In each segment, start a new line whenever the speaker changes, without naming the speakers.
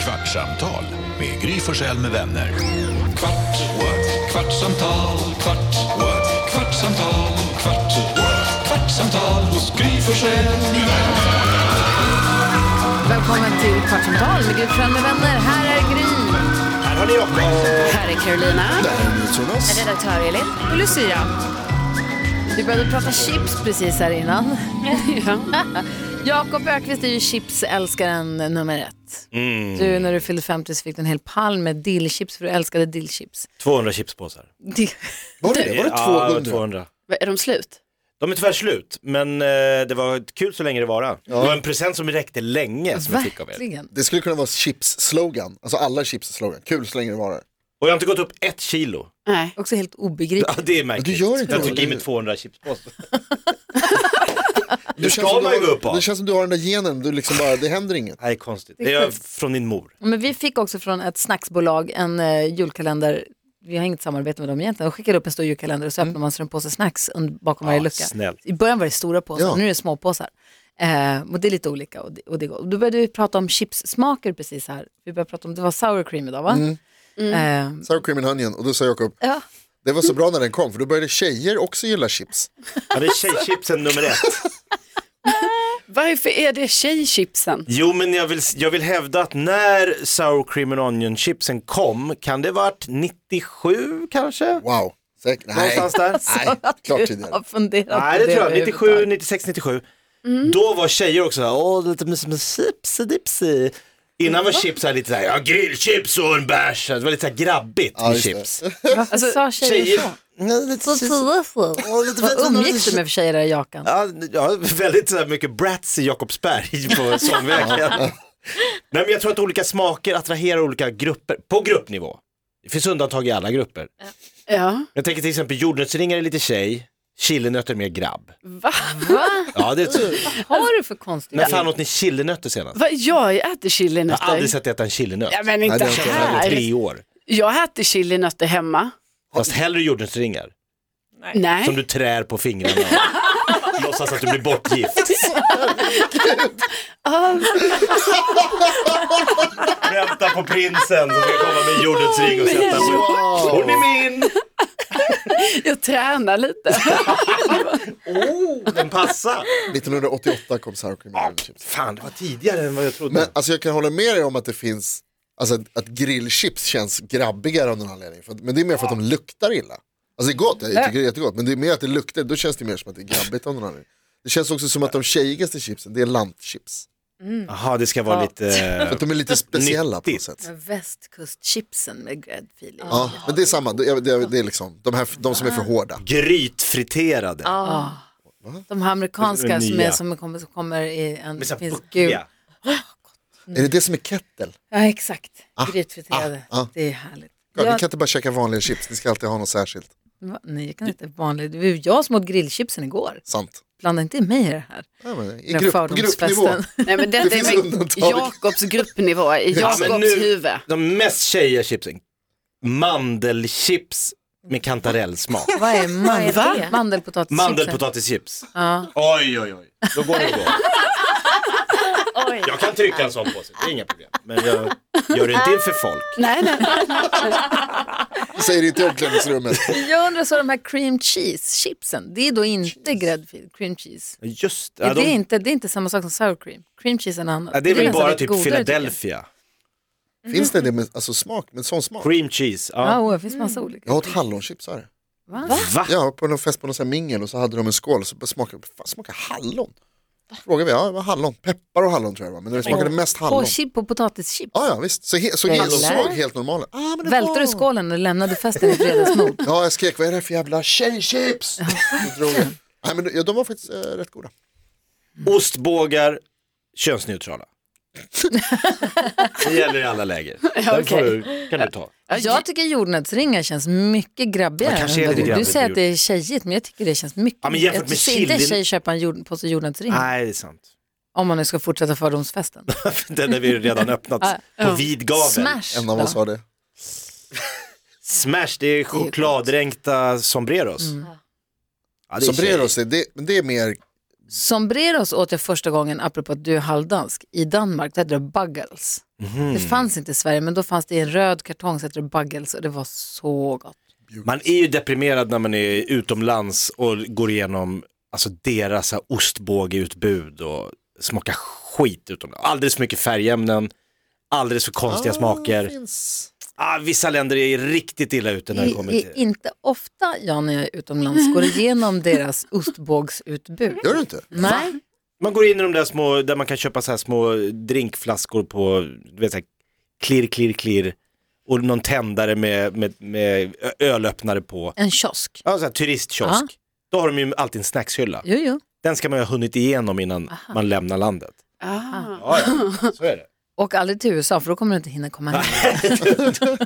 Kvartsamtal med Gry Forssell med vänner. Kvart, what? kvartsamtal, kvart, what? kvartsamtal, kvart, what? kvartsamtal hos Gry Forssell med vänner.
Välkommen till Kvartsamtal med Gry Forssell med vänner. Här är Gry.
Här har ni Rocco.
Här är Carolina. Redaktör Elin.
Och Lucia. Vi började prata chips precis här innan. Jakob Ökvist är ju chipsälskaren nummer ett.
Mm.
Du, när du fyllde 50 så fick du en hel palm med dillchips för du älskade dillchips.
200 chipspåsar.
Dill.
Var det det? Var det
Ja,
200?
200.
Är de slut?
De är tyvärr slut, men eh, det var kul så länge det varade. Det var en present som räckte länge som jag fick av er.
Verkligen.
Det skulle kunna vara chips-slogan, alltså alla chips-slogan, kul så länge det varar.
Och jag har inte gått upp ett kilo.
Nej.
Också helt obegripligt.
Ja, det är
Men
märkligt.
du gör inte
jag
det.
tog i mig 200 chipspåsar.
Det
ska
känns som
man
du
ju
har-
gå upp av.
Det känns som du har den där genen, du liksom bara, det händer inget.
Nej, konstigt. Det är jag från din mor.
Men vi fick också från ett snacksbolag en eh, julkalender. Vi har inget samarbete med dem egentligen. De skickade upp en stor julkalender och så öppnar man sig en påse snacks un- bakom varje lucka.
Mm. snällt.
I början var det stora påsar,
Ja.
nu är det små påsar. Eh, och det är lite olika och det, och det är gott. Och Då började vi prata om chipssmaker precis här. Vi började prata om, det var sour cream idag va?
Mm.
Eh,
Sour cream and onion, och då sa Jakob,
ja.
det var så bra när den kom, för då började tjejer också gilla chips.
Ja, det är tjejchipsen nummer ett.
Varför är det tjejchipsen?
Jo, men jag vill, jag vill hävda att när sour cream and onion chipsen kom, kan det varit 97 kanske?
Wow, säkert, nej,
Någonstans där.
nej, klart
Du
tidigare.
har funderat på
Nej det tror jag,
överhuvudtaget.
97, 96, 97. Då var tjejer också såhär, åh lite som en chipsy dipsy. Innan var chips såhär lite såhär, ja grillchips och en bärs. Det var lite såhär grabbigt
Ja,
med
just det.
chips.
Varför sa Alltså, tjejer
Tjejer,
så?
Nej, lite
Så
chips.
tidigt.
Åh, lite-
Vad umgicks
alltså-
du med för tjejer där i jakan?
Ja, ja, väldigt så här mycket brats i Jakobsberg på Sångvägen. Nej men jag tror att olika smaker attraherar olika grupper, på gruppnivå. Det finns undantag i alla grupper.
Ja.
Jag tänker till exempel jordnötsringar är lite tjej, chilinötter är mer grabb.
Va?
Va?
Ja, det,
Vad har du för konstigt?
när fan åt ni chilinötter senast?
Va? Jag äter
Jag har aldrig
chilinötter.
sett dig äta en chilinöt.
Ja, men
Nej,
inte
det har jag inte
Jag har ätit
här.
tre år.
Jag äter chilinötter hemma.
Fast hellre jordnötsringar som
Nej.
du trär på fingrarna. och Låtsas att du blir bortgift.
Ah,
Vänta på prinsen som ska komma med en jordnötsring och sätta sig. Hon är min!
jag tränar lite.
Oh, den passar.
1988 kom sour cream and onion chips.
Fan, det var tidigare än vad jag trodde.
Men alltså jag kan hålla med dig om att det finns, alltså att, att grillchips känns grabbigare av någon anledning. För, att- men det är mer för att de luktar illa. Alltså det är gott, jag tycker det är jättegott, men det är mer att det luktar, då känns det mer som att det är grabbigt av någon anledning. Det känns också som att de tjejigaste chipsen, det är lantchips.
Jaha, det ska vara lite... eh,
För att de är lite speciella på något
Nyttigt.
sätt.
Västkustchipsen med gräddfil i.
Ja, men det är samma, det är, det är, det är liksom, de, här, de som är för hårda.
Grytfriterade.
Ah. De här amerikanska
Den
som, är,
nya.
som, kommer, som kommer i en...
Med så här
finns-
buckiga.
gul.
Är det det som är kettle?
Ja, exakt. Grytfriterade.
ah, ah.
Det är härligt.
Ja, Ni
Jag,
kan inte bara käka vanliga chips, ni ska alltid ha något särskilt.
Va? Nej, jag kan inte vanligt. Det var jag som åt grillchipsen igår.
Sant.
Blanda inte i mig i det här.
Ja, men, I
Den
grupp, på
fördomsfesten.
gruppnivå.
Nej, men
Det
detta
finns
är med
undantag.
Jakobs gruppnivå, i
Ja, men
Jakobs
nu-
huvud.
De mest tjejiga chipsen. Mandelchips med kantarellsmak.
Vad är mandel? Mandelpotatis.
Mandelpotatischips.
Ja.
Oj, oj, oj. Då går det då. Jag kan trycka en sån på sig, det är inga problem. Men jag gör det inte inför folk.
Nej, nej.
Säger det till omklädningsrummet.
Jag undrar så de här cream cheese-chipsen, det är då inte gräddfil, cream cheese.
Just
är det, inte, det är inte samma sak som sour cream. Cream cheese är en annan.
ja, det är väl
nästan
bara
lite
typ
godare, tycker jag.
Philadelphia.
Finns det det med alltså, smak, med sån smak?
Cream cheese.
Ja,
Ja.
åh, det finns massa olika.
Jag åt hallonchips här.
Va?
Va?
Ja, på någon fest på någon sån här mingel och så hade de en skål och så bara smakade fan, smakar hallon. Frågade vi, ja det var hallon, peppar och hallon tror jag det var, men det smakade mest
På,
hallon.
chip, på potatischips.
Ja, ja visst, så, he- så he-
Eller?
såg helt normala. Ah, men det
Välte du
var-
skålen när du lämnade festen i fredagsmod?
Ja, jag skrek, vad är det här för jävla tjejchips? Så drog jag. Nej, men ja, de var faktiskt eh, rätt goda.
Ostbågar, könsneutrala. det gäller i alla läger. Den får du, kan du ta.
Jag tycker jordnötsringar känns mycket grabbigare.
Ja, kanske
än
är
vad du,
det lite
du
grabbigt
säger
med
att det är tjejigt, men jag tycker det känns mycket...
Ja, men jämfört
jag
med
ser inte en
chili-
tjej köpa en jord, påse jordnötsringar,
Nej, det är sant.
om man nu ska fortsätta fördomsfesten.
Den har vi ju redan öppnat på vid gavel. Smash.
Smash
En av
då?
oss har det.
det är Mm. chokladdränkta sombreros. Ja, det är
Sombreros, det, det, men det är mer,
Sombreros åt jag första gången, apropå att du är halvdansk, i Danmark. Där hette det buggles.
Mhm.
Det fanns inte i Sverige, men då fanns det i en röd kartong så hette det baggels och det var så gott.
Man är ju deprimerad när man är utomlands och går igenom alltså, deras så här, ostbågeutbud och smakar skit utomlands. Alldeles för mycket färgämnen, alldeles för konstiga
Ah,
Det
smaker.
Ah, finns...
Ah, vissa länder är riktigt illa ute när det kommer
I, i,
till...
inte ofta jag när jag är utomlands går igenom deras ostbågsutbud.
Gör du inte?
Nej,
Man går in i de där små, där man kan köpa så här små drinkflaskor på, du vet så här, klirr, klirr, klirr och någon tändare med, med, med ö- ölöppnare på.
en kiosk.
Ja, så här, turistkiosk.
Ja.
Då har de ju alltid en snackshylla.
Jo, jo.
Den ska man ju ha hunnit igenom innan man lämnar landet.
Ah.
Ja, ja. så är det.
Och aldrig till USA för då kommer du inte hinna komma hem.
Men
Då är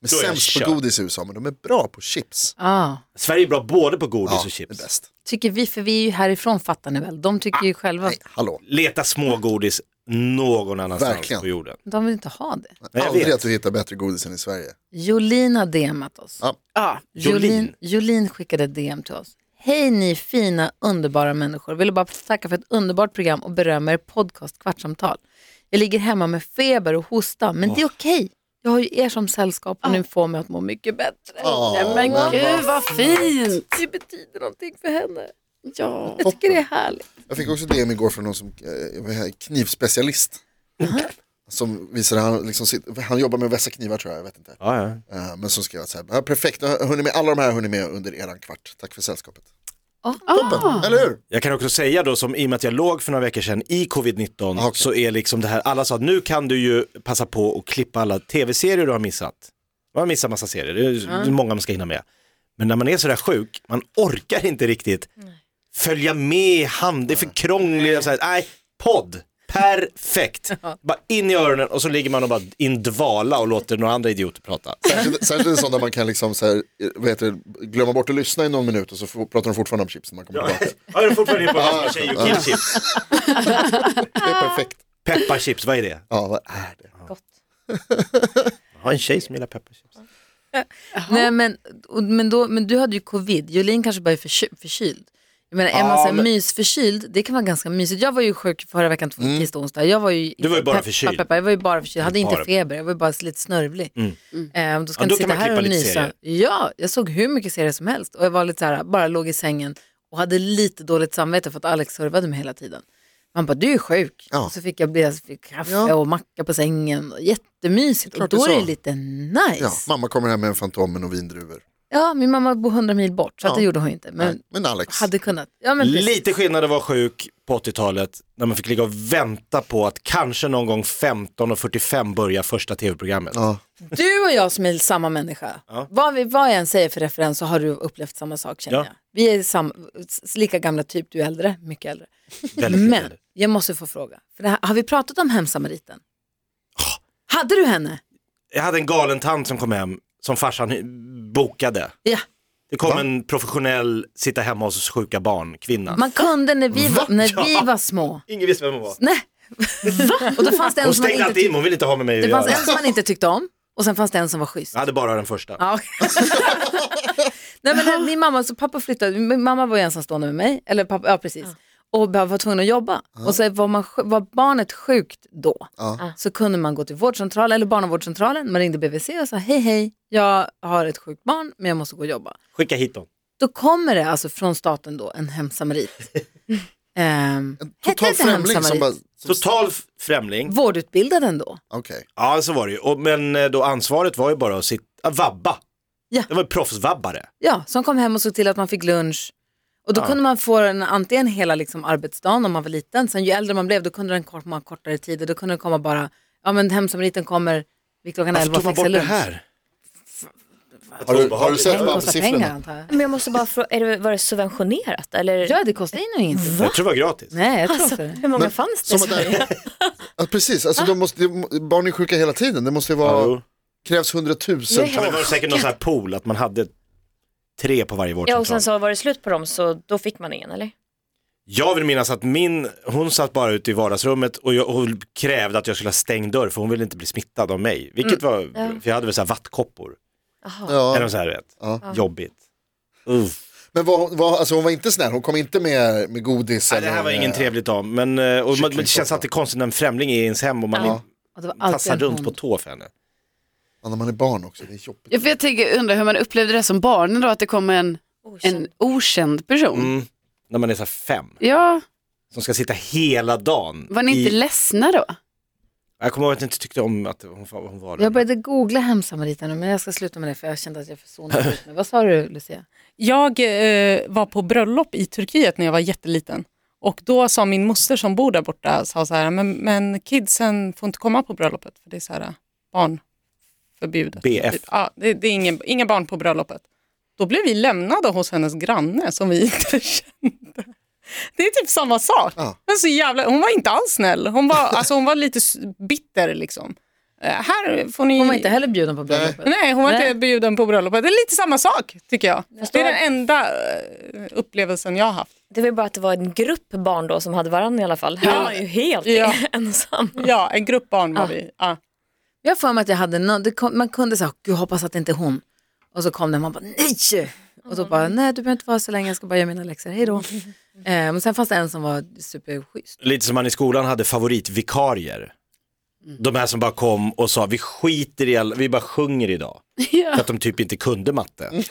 jag
sämst på
kört.
godis i USA, men de är bra på chips.
Ah.
Sverige är bra både på godis och
det är
chips.
bäst.
Tycker vi, för vi är ju härifrån fattar ni väl. De tycker ju själva,
Nej, hallå.
Leta smågodis någon annanstans
Verkligen.
på jorden.
de vill inte ha det.
jag
Aldrig
vet.
att du hittar bättre godis än i Sverige.
Jolin har DMat oss.
Ja.
Ah.
Jolin,
Jolin.
Jolin skickade ett DM till oss. Hej ni fina underbara människor. Vill bara tacka för ett underbart program och berömma er podcast Kvartsamtal. Jag ligger hemma med feber och hosta, men det är okej. Jag har ju er som sällskap och ni får mig att må mycket bättre.
Ja,
Nej,
men vad
Gud vad fint.
Det betyder någonting för henne.
Ja.
Jag tycker det är härligt.
Jag fick också DM igår från någon som eh, var här, knivspecialist. Som visade, han, liksom, sitt- han jobbar med att vässa knivar tror jag, jag vet inte.
Ja, ja.
Eh, Men som skrev att så här, "Ja, perfekt, nu har jag hunnit med, alla de här har hunnit med under eran kvart. Tack för sällskapet.
Ah.
Eller hur?
Jag kan också säga då, som, i och med att jag låg för några veckor sedan i covid-19,
Ah, okej.
så är liksom det här, alla sa att nu kan du ju passa på och klippa alla tv-serier du har missat. Man har missat massa serier, det är ju många man ska hinna med. Men när man är sådär sjuk, man orkar inte riktigt följa med, hand, det är för krångligt, så här, nej, podd, perfekt. Bara in i öronen och så ligger man och bara i en dvala och låter några andra idioter prata.
Särskilt, särskilt en sån där man kan liksom så här, eh, vad heter, det, glömma bort att lyssna i någon minut och så får- pratar de fortfarande om chips när man kommer tillbaka.
jag är fortfarande på tjejokillchips.
Det är perfekt.
Pepparchips, vad är det?
Ja, vad är det?
Jag har en tjej som gillar pepparchips.
Nej, men, och, men, då, men du hade ju covid, Jolin kanske bara är förky, förkyld. Jag menar, är man så här mysförkyld, det kan vara ganska mysigt. Jag var ju sjuk förra veckan, två- tisdag och onsdag. Jag var ju,
Mm. Du var ju bara
pepp,
förkyld.
pepp, pepp, jag var ju bara förkyld, jag hade inte
Bara. Mm.
feber, jag var ju bara lite snörvlig. Eh, då ska
Ja,
inte
då kan
sitta
man
här
klippa
och
lite
nysa.
serier.
Ja, jag såg hur mycket serier som helst och jag var lite så här, bara låg i sängen och hade lite dåligt samvete för att Alex servade mig hela tiden. Han bara, du är sjuk.
Ja.
Och så fick jag, bli- jag fick kaffe
Ja.
och macka på sängen. Jättemysigt. Och
Klart det är
då är det
så.
lite nice.
Ja, mamma kommer hem med en Fantomen och vindruvor.
Ja, min mamma bor 100 mil bort så att
Ja.
det gjorde hon inte.
Men,
Men
men Alex,
hade kunnat. Ja, men precis.
Lite skillnad att vara sjuk på 80-talet när man fick ligga och vänta på att kanske någon gång 15.45 börja första tv-programmet.
ja,
Du och jag som är samma människa, vad, vi, vad jag än säger för referens så har du upplevt samma sak känner
Ja.
jag. Vi är sam, s- lika gamla typ, du är äldre, mycket äldre.
Väldigt
Men
skillnad.
jag måste få fråga, för det här, har vi pratat om hemsamariten?
Ah.
Hade du henne?
Jag hade en galen tant som kom hem som farsan hy- bokade.
Ja.
Det kom
Va?
en professionell sitta hemma hos sjuka barn kvinna.
Man kunde när vi, var, när vi var små.
Ingen visste vem hon var.
Nej. Va? Och då fanns det en
Hon
som man
stängde
inte,
alltid in,
tyck-
hon ville inte ha med mig att
det
göra.
fanns en som man inte tyckte om och sen fanns det en som var schysst.
Jag hade bara den första.
Ja, okej. Nej, men när min mamma, så pappa flyttade, min mamma var ju ensamstående med mig, eller pappa, ja precis, och bara var tvungen att jobba. Och så var, man, sj- var barnet sjukt då,
Ja.
så kunde man gå till vårdcentralen eller barnavårdscentralen, man ringde BVC och sa hej hej, jag har ett sjukt barn men jag måste gå och jobba.
Skicka hit dem.
Då kommer det alltså från staten då en hemsamarit. Ehm,
en
hette det
total
inte
främling som
hemsamarit?
bara,
Total f- främling.
Vårdutbildad ändå.
okej.
Ja, så var det ju. Och, men eh, då ansvaret var ju bara att sitta, att vabba.
Ja.
Det var ju proffsvabbare.
Ja, som kom hem och såg till att man fick lunch. Och då
Ja.
kunde man få den antingen hela liksom arbetsdagen om man var liten. Sen ju äldre man blev då kunde den komma kortare tider. Då kunde den komma bara, ja men hemsamariten kommer vid klockan elva och fixar lunch.
Har du, har du sett
Det kostar pengar
vabbsiffrorna?
antar jag.
Men jag måste bara fråga, är det, var det subventionerat eller?
Ja, det kostar ju nog ingenting.
Jag tror det var gratis.
Nej, jag tror
alltså,
inte det.
hur många
Men-
fanns det? i
Som att
Sverige?
det, ja, precis, alltså, de måste, de- barn är sjuka hela tiden. Det måste ju vara,
jo.
krävs
Ja, men
hundratusentals.
det var säkert någon sån här pool, att man hade tre på varje
Ja
vårdcentral.
och sen så var det slut på dem så då fick man ingen eller?
Jag vill minnas att min, hon satt bara ute i vardagsrummet och jag, hon krävde att jag skulle ha stängd dörr för hon ville inte bli smittad av mig. Vilket var, för jag hade väl så här vattkoppor. Eller
Ja.
så här, du vet.
Ja.
Jobbigt. Uff.
Men vad, vad, alltså, hon var inte snäll, hon kom inte med, med godis.
Nej, det här
eller-
var ingen trevlig dag, men, eh, och man, men det känns
Kycklingkoppa.
alltid konstigt när en främling är i ens hem och man
Ja.
inte-
Och det var alltid
tassar
en
runt
hon.
på tå för henne.
Ja, när man är barn också, det är jobbigt.
Ja, för jag tänker, undrar hur man upplevde det som barn då, att det kom en, en okänd person.
Mm. När man är så här fem,
Ja,
som ska sitta hela dagen.
var ni inte ledsna då?
Jag kommer ihåg att jag inte tyckte om att hon, hon var där.
Jag började googla hemsamariterna men jag ska sluta med det för jag kände att jag försonade ut mig. Vad sa du Lucia?
Jag eh, var på bröllop i Turkiet när jag var jätteliten. Och då sa min moster som bor där borta, sa så här, men, men kidsen får inte komma på bröllopet för det är så här barn förbjudet.
BF.
Typ. Ja, det, det är ingen, inga barn på bröllopet. Då blev vi lämnade hos hennes granne som vi inte kände. Det är typ samma sak.
Ja.
Men så jävla, hon var inte alls snäll. Hon var, alltså, hon var lite s- bitter liksom. Eh, här får ni...
Hon var inte heller bjuden på bröllopet.
Nej, hon var
Nej.
inte bjuden på bröllopet. Det är lite samma sak tycker jag. Det är den enda eh, upplevelsen jag har haft.
Det var ju bara att det var en grupp barn då som hade varandra i alla fall. Här var man ju helt
Ja.
ensam.
Ja, en grupp barn var vi. Ah, Ja.
Ah. Jag har för mig att jag hade någon, det kom, man kunde säga, gud hoppas att det inte är hon. Och så kom den man bara, nej! Och så bara, nej du behöver inte vara så länge, jag ska bara göra mina läxor, hej då. eh, men sen fanns det en som var superschysst.
Lite som man i skolan hade favoritvikarier.
Mm.
De här som bara kom och sa vi skiter i all... vi bara sjunger idag. För att de typ inte kunde matte.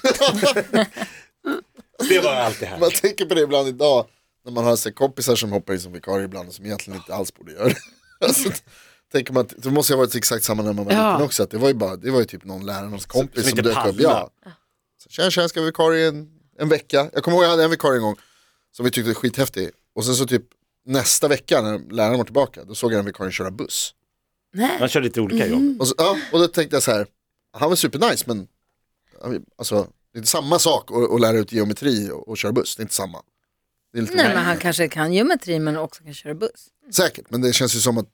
det var alltid här.
Man tänker på det ibland idag när man har så här kompisar som hoppar in som vikarier ibland och som egentligen inte alls borde göra det. Alltså, t- tänker man att, det måste ju ha varit exakt samma när man var
Ja.
liten också, att det var ju bara, det var ju typ någon lärare, någons kompis som,
som inte
dök upp.
pallar.
Ja. Så, tjena tjena, ska jag vara vikarie en, en vecka? Jag kommer ihåg jag hade en vikarie en gång som vi tyckte var skithäftig och sen så typ nästa vecka när läraren var tillbaka, då såg jag den vikarien köra buss.
Man kör lite olika
Mm.
jobb.
Och, så, ja, och då tänkte jag så här, han var supernice men alltså, det är inte samma sak att, att lära ut geometri och, och köra buss, det är inte samma. Det är lite
Nej men han kanske kan geometri men också kan köra buss.
Säkert, men det känns ju som att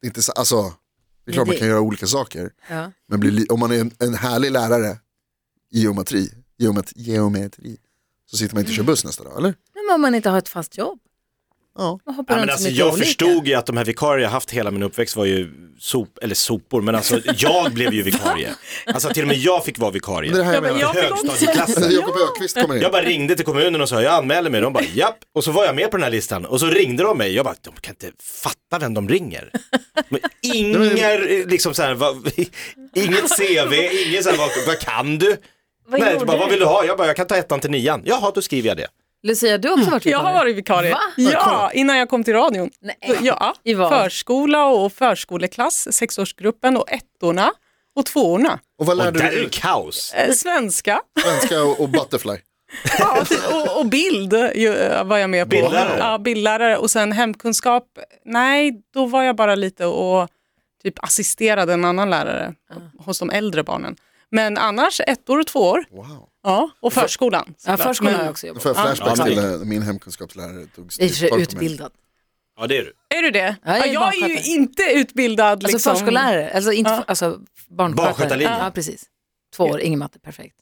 det inte, är sa- alltså, det är klart
det-
man kan göra olika saker.
Ja.
Men blir, li- om man är en, en härlig lärare i geometri, geomet, geometri, så sitter man inte och kör buss nästa dag, eller?
Men om man inte har ett fast jobb.
Ja.
Man hoppar
Ja, men
runt så
alltså,
mycket
jag
olika.
förstod ju att de här vikarier jag haft hela min uppväxt var ju sop, eller sopor, men alltså jag blev ju vikarie. Alltså till och med jag fick vara vikarie.
Men det är det här jag menar.
jag fick
Alltså,
Högstadieklassen.
Jakob Ökvist kommer in.
Jag bara ringde till kommunen och sa jag anmäler mig. De bara japp. Och så var jag med på den här listan. Och så ringde de mig. Jag bara de kan inte fatta vem de ringer. Men inget liksom så här, vad, inget CV, inget så här, vad, vad kan du?
Vad
Nej,
gjorde
bara, vad
du?
vill du ha? Jag bara jag kan ta ettan till nian. Jaha, då skriver jag det.
Lucia, du har också varit
Jag har varit vikarie.
Va?
Ja, innan jag kom till radion.
Nej.
Ja,
I vad?
förskola och förskoleklass, sexårsgruppen och ettorna och tvåorna.
Och vad
Och
lärde
där
du
är det
ut?
kaos.
Eh, svenska
Svenska och, och butterfly.
ja, och typ- och, och bild ju, eh, var jag med på.
Bildlärare?
Ja, bildlärare. Och sen hemkunskap, nej, då var jag bara lite och typ assisterade en annan lärare hos de äldre barnen. Men annars ett år och två år.
Wow.
Ja, och förskolan.
Ja,
såklart.
förskolan har
Men-
jag också
Nu
jobbat.
får jag
Ja.
flashbacks
Ja, men-
till när min hemkunskapslärare tog
Det är i och för sig
stryptag på mig.
utbildad.
Ja det är du.
Är du det?
Ja, jag är
Ja, jag är ju
barnskötare.
inte utbildad.
Alltså
liksom.
förskollärare, alltså, inte,
Ja.
alltså barnskötare.
Barnskötarlinjen.
Ja, precis. Två år, ingen matte, perfekt.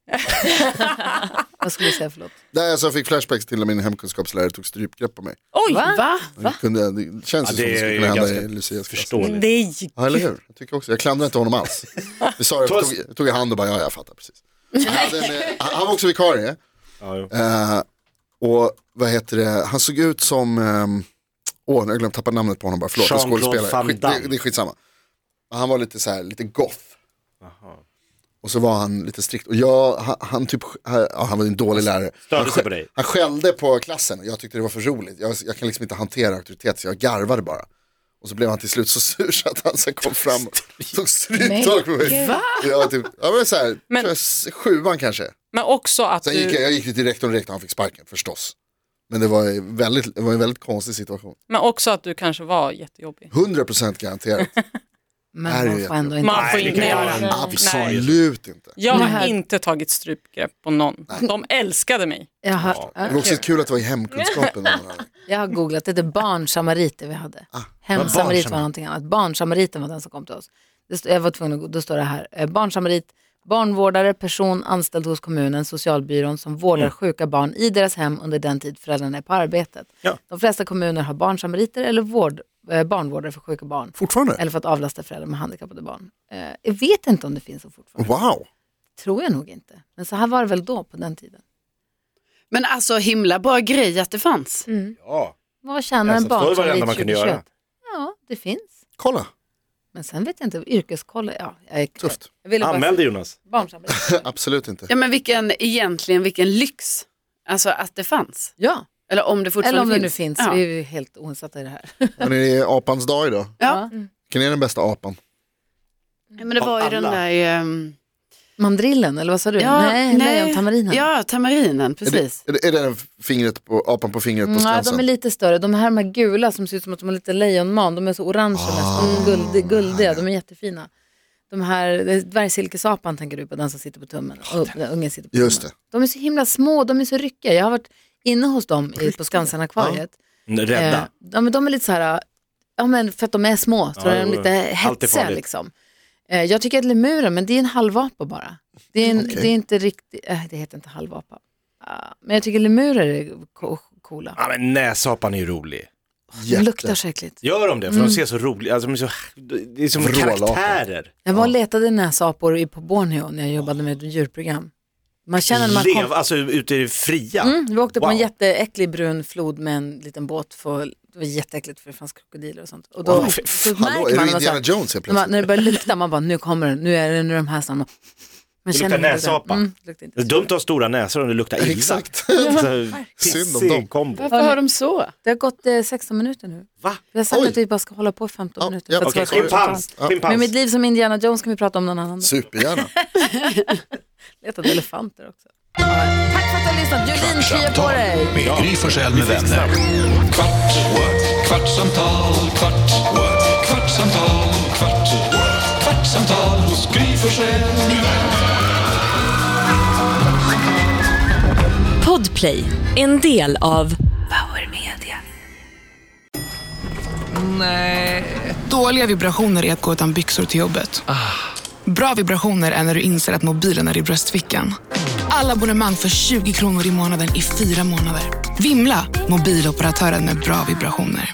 Vad skulle du säga, förlåt?
Nej, alltså jag fick flashbacks till när min hemkunskapslärare tog strypgrepp på mig.
Oj,
Va?
Va?
Det, kunde, det känns
Ja,
ju som
det
det skulle
är
kunna
ju
hända
ganska
i Lucias klass.
förståeligt.
nej.
Ja, eller hur? Jag tycker också. Jag klandrar inte honom alls. Det sa jag, jag tog, jag tog i hand och bara, ja, jag fattar precis. Han, hade en, eh, han han var också vikarie.
Ja, jo.
Eh, och vad heter det, han såg ut som, ehm, åh nu har jag glömt tappa namnet på honom bara, förlåt, en
Jean-Claude
skådespelare.
Van
Skit,
Damme.
det, det är skitsamma. Men han var lite så här, lite goth. Och så var han lite strikt, och jag, han, han typ, han, ja, han var en dålig lärare.
störde
han,
sig
skä-
på dig.
han skällde på klassen och jag tyckte det var för roligt. Jag, jag kan liksom inte hantera auktoritet så jag garvade bara. Och så blev han till slut så sur så att han så här kom fram och tog stryptag på mig. Jag var typ, jag var så här,
Men-
tror jag, s- sjuan kanske.
Men också att
Sen gick jag,
du,
jag gick ju direkt och direkt och han fick sparken förstås. Men det var, ju väldigt, det var en väldigt konstig situation.
men också att du kanske var jättejobbig.
100% garanterat. Här
Men
är
man
det
får ändå inte...
Man får
Nej, det
inte
kan jag
göra
inte.
det. Nej.
Absolut inte.
Jag
Det
har
här-
inte tagit strypgrepp på någon. De älskade mig.
Jag har,
Det var också kul att det var i hemkunskapen.
jag har googlat, det är barnsamariter vi hade.
Ah.
Hemsamarit var någonting annat. Barnsamariten var den som kom till oss. Det stod, jag var tvungen att gå, då står det här. eh, Barnsamarit, barnvårdare, person anställd hos kommunen, socialbyrån som vårdar sjuka barn i deras hem under den tid föräldrarna är på arbetet.
Ja.
De flesta kommuner har barnsamariter eller vård, eh, barnvårdare för sjuka barn.
Fortfarande?
Eller för att avlasta föräldrar med handikappade barn. Eh, jag vet inte om det finns så fortfarande.
Wow.
Tror jag nog inte. Men så här var det väl då på den tiden.
Men alltså himla bra grej att det fanns.
Ja,
Vad tjänar en
ensamstående var det
barnsammarit
enda man kunde göra.
2021? Ja, det finns.
Kolla.
Men sen vet jag inte, yrkeskoll, ja. Jag är,
Tufft.
Jag ville bara
Anmäl dig Jonas.
barnsamling.
Absolut inte.
Ja men vilken, egentligen vilken lyx. Alltså att det fanns.
Ja,
Eller om det fortfarande
eller om det nu
finns.
finns.
Ja.
Vi är ju helt oinsatta i det här. Mm.
Men det är apans dag idag.
Ja.
Vilken är den bästa apan?
Ja, Men det var ju
Av
den
alla.
där, ehm,
Mandrillen, eller vad sa du?
Ja,
nej,
nej.
nej, tamarinen.
ja tamarinen,
Är
precis.
det, är det, är det den fingret på, apan på fingret på
Nej,
skansen?
Mm, de är lite större. De här med gula som ser ut som att de har lite lejonman, de är så orange nästan, guld, guldiga, de är jättefina. De här, det är dvärgsilkesapan tänker du på, den som sitter på tummen. Och, den ungen sitter på
Just
tummen.
det.
De är så himla små, de är så ryckiga. Jag har varit inne hos dem i, på Skansen-akvariet. Eh,
Rädda.
ja, men de är lite så här, ja men för att de är små så
Ja,
är de
jo,
lite
allt är
hetsiga
farligt.
liksom. Eh, jag tycker att lemuren, men det är en halvapa bara. Det är,
Mm,
en, det är inte riktigt, eh, det heter inte halvapa. Ah, men jag tycker lemurer är co- coola.
Ja, men näsapan är ju rolig.
De
Jätte.
luktar så äckligt.
Gör de det? För de ser så roliga, alltså, de är så, det är som
Vrålapor.
karaktärer.
Jag var och letade näsapor i- på Borneo när jag jobbade med ett djurprogram. Man känner när man
Lev,
kom,
alltså ute i det fria.
mm, vi åkte på en
Wow.
jätteäcklig brun flod med en liten båt. För, det var jätteäckligt för det fanns krokodiler och sånt. Och då
Wow.
så
Hallå,
märker
är
man,
du
man så
Indiana
här,
Jones helt
när, man,
plötsligt?
när det börjar lukta, man bara nu kommer den, nu är det nu är de här samma. Man
Det luktar
hur det-
näsapa.
Mm, det luktar inte.
Det är dumt att ha stora näsor om det luktar illa.
Exakt. Synd
Synd
om dem.
kombo.
Varför har de så?
Det har gått eh, 16 minuter nu.
Va?
Vi har sagt
Oj.
att vi bara ska hålla på i 15
Ja,
minuter.
ja,
för att
Okej,
det ska vara klart.
schimpans.
Med
schimpans.
mitt liv som Indiana Jones kan vi prata om någon annan dag.
Supergärna.
Letade elefanter också. Ja, Tack för att du har lyssnat. Julin, krya på
Kvartsamtal
dig.
med Gry Forssell med vänner. Kvart, what? kvartsamtal, kvart, what? kvartsamtal, kvart, what? kvartsamtal hos Gry Forssell med vänner.
Podplay, en del av
Dåliga vibrationer är att gå utan byxor till jobbet. Bra vibrationer är när du inser att mobilen är i bröstfickan. Alla abonnemang för 20 kronor i månaden i fyra månader. Vimla! Mobiloperatören med bra vibrationer.